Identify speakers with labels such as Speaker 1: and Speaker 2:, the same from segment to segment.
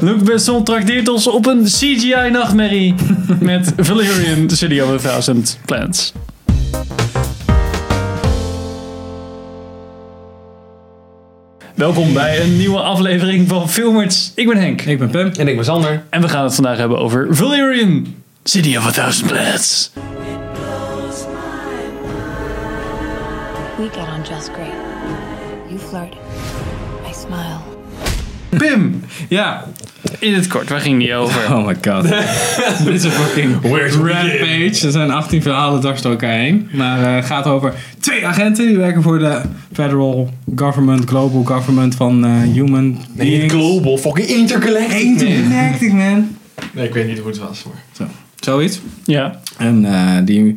Speaker 1: Luc Besson trakteert ons op een CGI-nachtmerrie met Valerian City of a Thousand Plants. Welkom bij een nieuwe aflevering van Filmers. Ik ben Henk
Speaker 2: Ik ben Pem.
Speaker 3: En ik ben Sander.
Speaker 1: en we gaan het vandaag hebben over Valerian City of a Thousand Plants.
Speaker 4: We get on just great. You flirt. I smile.
Speaker 1: Pim,
Speaker 2: Ja.
Speaker 1: in het kort, waar ging die over?
Speaker 2: Oh my god. Dit is een fucking rampage. Er zijn 18 verhalen dwars door elkaar heen. Maar eh, het gaat over twee agenten die werken voor de federal government, global government van eh, human
Speaker 3: Niet
Speaker 2: beings.
Speaker 3: global, fucking intergalactic. man.
Speaker 2: Interconnected, man.
Speaker 3: Nee, ik weet niet hoe het was, maar...
Speaker 2: Zo. Zoiets.
Speaker 1: Ja,
Speaker 2: En eh, die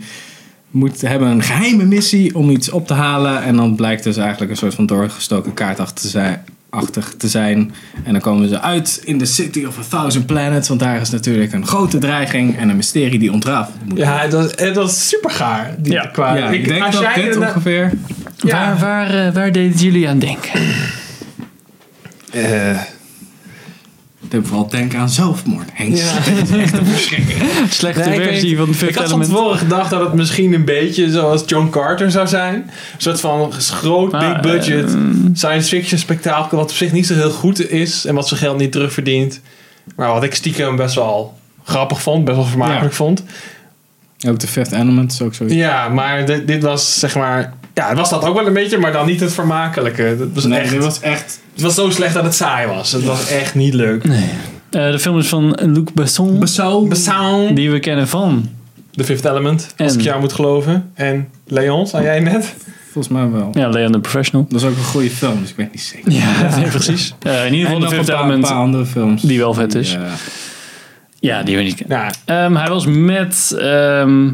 Speaker 2: moet, hebben een geheime missie om iets op te halen. En dan blijkt dus eigenlijk een soort van doorgestoken kaartachtig te zijn. Achtig te zijn. En dan komen ze uit in de City of a Thousand Planets. Want daar is natuurlijk een grote dreiging en een mysterie die ontrafeld moet
Speaker 3: Ja, het was, het was super gaar. Die,
Speaker 1: Ja.
Speaker 3: qua,
Speaker 2: Ja, ik, denk
Speaker 3: als
Speaker 2: dat
Speaker 3: jij
Speaker 2: dit
Speaker 3: erna-
Speaker 2: ongeveer...
Speaker 1: Waar,
Speaker 3: Ja.
Speaker 1: waar, eh, waar deden jullie aan denken?
Speaker 3: Eh,
Speaker 2: Ik denk vooral denk aan zelfmoord, Henk.
Speaker 3: ja.
Speaker 1: Slechte
Speaker 3: Nee, ik
Speaker 1: versie
Speaker 3: weet-
Speaker 1: van Fifth
Speaker 3: Ik had van
Speaker 1: Element.
Speaker 3: tevoren gedacht dat het misschien een beetje zoals John Carter zou zijn. Een soort van groot,
Speaker 1: Ah,
Speaker 3: big budget science fiction spektakel. Wat op zich niet zo heel goed is. En wat zijn geld niet terugverdient. Maar wat ik stiekem best wel grappig vond. Best wel vermakelijk
Speaker 2: Ja.
Speaker 3: vond.
Speaker 2: Ook de Fifth Element is ook zoiets.
Speaker 3: Ja, maar dit, dit was zeg maar... Ja, het was dat ook wel een beetje, maar dan niet het vermakelijke. Het was,
Speaker 2: nee,
Speaker 3: echt,
Speaker 2: dit was echt...
Speaker 3: het was zo slecht dat het saai was. Het was echt niet leuk.
Speaker 1: Eh, de film is van Luc Besson,
Speaker 2: Beso.
Speaker 3: Sound.
Speaker 1: die we kennen van.
Speaker 3: The Fifth Element, als
Speaker 1: En-
Speaker 3: ik jou moet geloven. En Leon, zei jij net?
Speaker 2: Volgens mij wel.
Speaker 1: Ja, Leon the Professional.
Speaker 2: Dat is ook een goede film, dus ik weet niet zeker.
Speaker 1: Ja, precies. in ieder
Speaker 2: En
Speaker 1: geval
Speaker 2: nog
Speaker 1: de
Speaker 2: een
Speaker 1: Fifth
Speaker 2: paar, een
Speaker 1: Element,
Speaker 2: paar andere films.
Speaker 1: die wel vet is.
Speaker 2: Ja.
Speaker 1: Ja, die we niet kennen.
Speaker 3: Nou,
Speaker 1: Ehm, hij was met ehm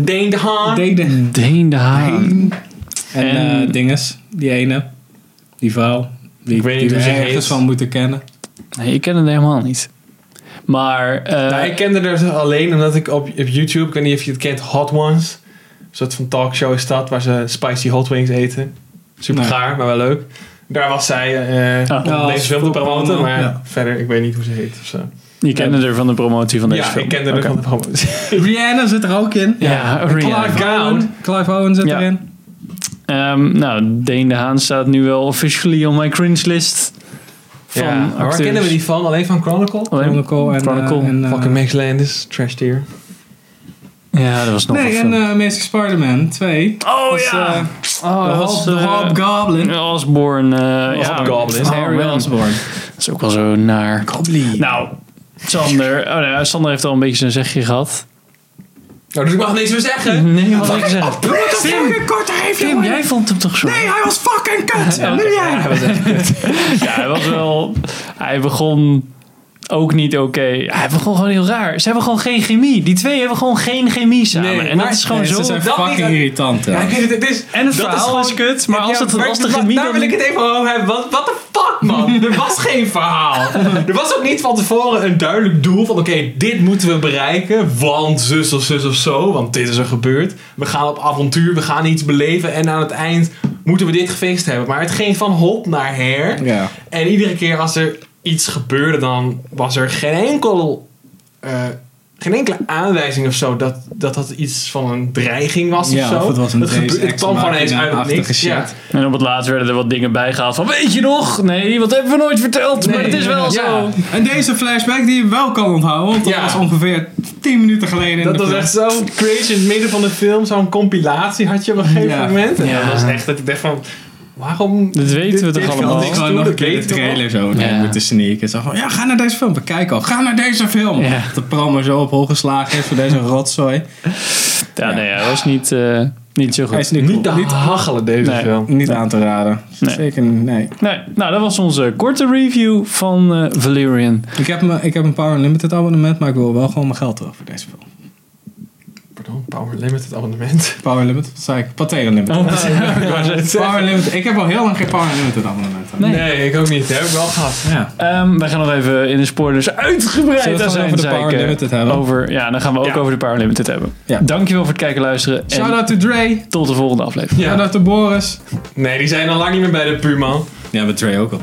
Speaker 3: Dane de Haan.
Speaker 2: eh, Deden.
Speaker 1: Deen de Haan.
Speaker 2: En,
Speaker 1: En-
Speaker 2: eh, dinges, die ene, die vrouw, die,
Speaker 3: Ik weet niet
Speaker 2: die we
Speaker 3: hoe ze
Speaker 2: ergens
Speaker 3: heet.
Speaker 2: van moeten kennen.
Speaker 1: Nee, ik ken hem helemaal niet. Maar eh,
Speaker 3: Nou, ik kende er alleen omdat ik op, op YouTube, ik weet niet of je het kent, Hot Ones. Een soort van talkshow is dat, waar ze spicy hot wings eten. Super
Speaker 2: Nee.
Speaker 3: gaar, maar wel leuk. Daar was zij eh
Speaker 1: Ah.
Speaker 3: om
Speaker 2: Ja, als
Speaker 3: deze film te promoten, maar
Speaker 2: ja.
Speaker 3: verder, ik weet niet hoe ze heet of zo.
Speaker 1: je kende er van de promotie van deze
Speaker 3: ja,
Speaker 1: film.
Speaker 3: ik kende
Speaker 1: Oké.
Speaker 3: er van de promotie.
Speaker 2: Rihanna zit er ook in.
Speaker 1: Ja, Rihanna.
Speaker 3: Clark Gowd.
Speaker 2: Owen, Clive Owen zit
Speaker 1: Ja.
Speaker 2: erin.
Speaker 1: Ehm, nou, Deen de Haan staat nu wel officially on my cringe list. Van
Speaker 3: Ja, maar waar
Speaker 1: acteurs.
Speaker 3: kennen we die van? Alleen van Chronicle?
Speaker 1: Alleen-
Speaker 2: Chronicle en... eh,
Speaker 1: Chronicle.
Speaker 2: en eh,
Speaker 3: Fucking Max Landis, trash tier.
Speaker 1: Ja, dat was nog een
Speaker 2: nee, en
Speaker 1: film.
Speaker 2: eh, Amazing Spider-Man 2.
Speaker 1: oh
Speaker 2: was,
Speaker 1: ja!
Speaker 2: eh,
Speaker 1: oh,
Speaker 2: de
Speaker 1: dat
Speaker 2: Hob-
Speaker 1: was,
Speaker 2: de
Speaker 1: eh,
Speaker 2: Hobgoblin.
Speaker 1: Osborne. eh ja,
Speaker 3: Hobgoblin.
Speaker 1: Oh,
Speaker 2: Harry
Speaker 1: man.
Speaker 2: Osborn.
Speaker 1: Dat is ook wel zo naar.
Speaker 2: Goblin.
Speaker 1: Nou, Sander. Oh, nou, ja, Sander heeft al een beetje zijn zegje gehad.
Speaker 3: Nou, dus ik mag niks meer zeggen. Oh,
Speaker 1: Nee, wat wil ik zeggen?
Speaker 2: Tim, kort heeft
Speaker 1: Tim, jij vond hem toch zo?
Speaker 2: Nee, hij was fucking kut.
Speaker 1: Ja,
Speaker 2: En nu jij.
Speaker 1: Ja, hij was wel. Hij begon ook niet oké. Hij begon gewoon heel raar. Ze hebben gewoon geen chemie. Die twee hebben gewoon geen chemie samen.
Speaker 3: Nee,
Speaker 1: en dat
Speaker 3: maar-
Speaker 1: is gewoon
Speaker 2: Nee,
Speaker 1: zo.
Speaker 2: Ze zijn
Speaker 3: dat
Speaker 2: fucking
Speaker 3: niet-
Speaker 2: irritant. hè.
Speaker 3: Ja, ik weet het, het is,
Speaker 1: En het verhaal is kut, maar als het- als de chemie
Speaker 3: Daar
Speaker 1: dan
Speaker 3: wil ik
Speaker 1: niet-
Speaker 3: het even over hebben. Wat what the fuck, man? er was geen verhaal. Er was ook niet van tevoren een duidelijk doel van... Oké, dit moeten we bereiken, want zus of zus of zo. Want dit is er gebeurd. We gaan op avontuur, we gaan iets beleven. En aan het eind moeten we dit gefeest hebben. Maar het ging van hop naar her.
Speaker 2: Ja.
Speaker 3: En iedere keer als er iets gebeurde, dan was er geen enkel. eh, geen enkele aanwijzing of zo dat, dat dat iets van een dreiging was
Speaker 2: Ja,
Speaker 3: of zo.
Speaker 2: of het was een
Speaker 3: het, gebe-
Speaker 2: Deus
Speaker 3: het
Speaker 2: Ex
Speaker 3: kwam gewoon eens
Speaker 2: Machina
Speaker 3: uit het
Speaker 2: achtige
Speaker 3: niks.
Speaker 2: shit.
Speaker 3: Ja.
Speaker 1: En op het laatst werden er wat dingen bijgehaald van weet je nog? Nee, wat hebben we nooit verteld, maar
Speaker 3: Nee,
Speaker 1: het is wel
Speaker 3: ja.
Speaker 1: zo.
Speaker 2: En deze flashback die je wel kan onthouden, want dat
Speaker 3: Ja.
Speaker 2: was ongeveer 10 minuten geleden in
Speaker 3: Dat
Speaker 2: de
Speaker 3: was
Speaker 2: film.
Speaker 3: echt zo crazy in het midden van de film. Zo'n compilatie had je op een gegeven
Speaker 2: Ja. Dus
Speaker 3: moment. En
Speaker 1: Ja.
Speaker 3: dat was echt dat ik dacht van... Waarom...
Speaker 1: Dit weten we toch
Speaker 3: dit kan
Speaker 1: allemaal?
Speaker 3: niks
Speaker 2: Gewoon
Speaker 3: doen,
Speaker 2: nog een
Speaker 3: dat
Speaker 2: keer de
Speaker 3: weten we al.
Speaker 2: trailer zo
Speaker 1: Ja.
Speaker 2: ja. moeten sneaken. Zo van, ja, ga naar deze film. We kijken al. Ga naar deze film.
Speaker 1: Ja.
Speaker 2: Dat de promo zo op hol geslagen is voor deze rotzooi.
Speaker 1: Ja, nee, hij was niet, eh, niet zo
Speaker 2: Hij
Speaker 1: goed.
Speaker 2: is niet,
Speaker 3: Niet te
Speaker 2: cool. niet,
Speaker 3: hachelen deze
Speaker 1: Nee.
Speaker 3: film.
Speaker 2: niet aan te raden.
Speaker 1: Nee.
Speaker 2: Zeker niet, nee.
Speaker 1: Nee, nou, dat was onze korte review van eh, Valerian.
Speaker 2: Ik heb, me, ik heb een Power Limited abonnement, maar ik wil wel gewoon mijn geld terug voor deze film.
Speaker 3: Pardon, Power Limited abonnement.
Speaker 2: Power Limited? Wat zei ik? Pathé Limited. Power Limited. Ik heb al heel lang geen Power Limited abonnement.
Speaker 1: Nee.
Speaker 3: Nee, ik ook niet. Dat heb ik wel gehad.
Speaker 2: Ja.
Speaker 1: Ehm, wij gaan nog even in de spoilers
Speaker 2: Zullen we het
Speaker 1: uitgebreid
Speaker 2: gewoon
Speaker 1: zijn
Speaker 2: over de
Speaker 1: zeiken.
Speaker 2: Power Limited hebben?
Speaker 1: Over, ja, dan gaan we ook
Speaker 3: Ja.
Speaker 1: over de Power Limited hebben.
Speaker 2: Ja.
Speaker 1: Dankjewel voor het kijken en luisteren.
Speaker 2: Shout
Speaker 1: En
Speaker 2: out to Dre.
Speaker 1: tot de volgende aflevering.
Speaker 2: Shout out to Boris.
Speaker 3: Nee, die zijn al lang niet meer bij de Puurman.
Speaker 2: Ja, met Dre ook al.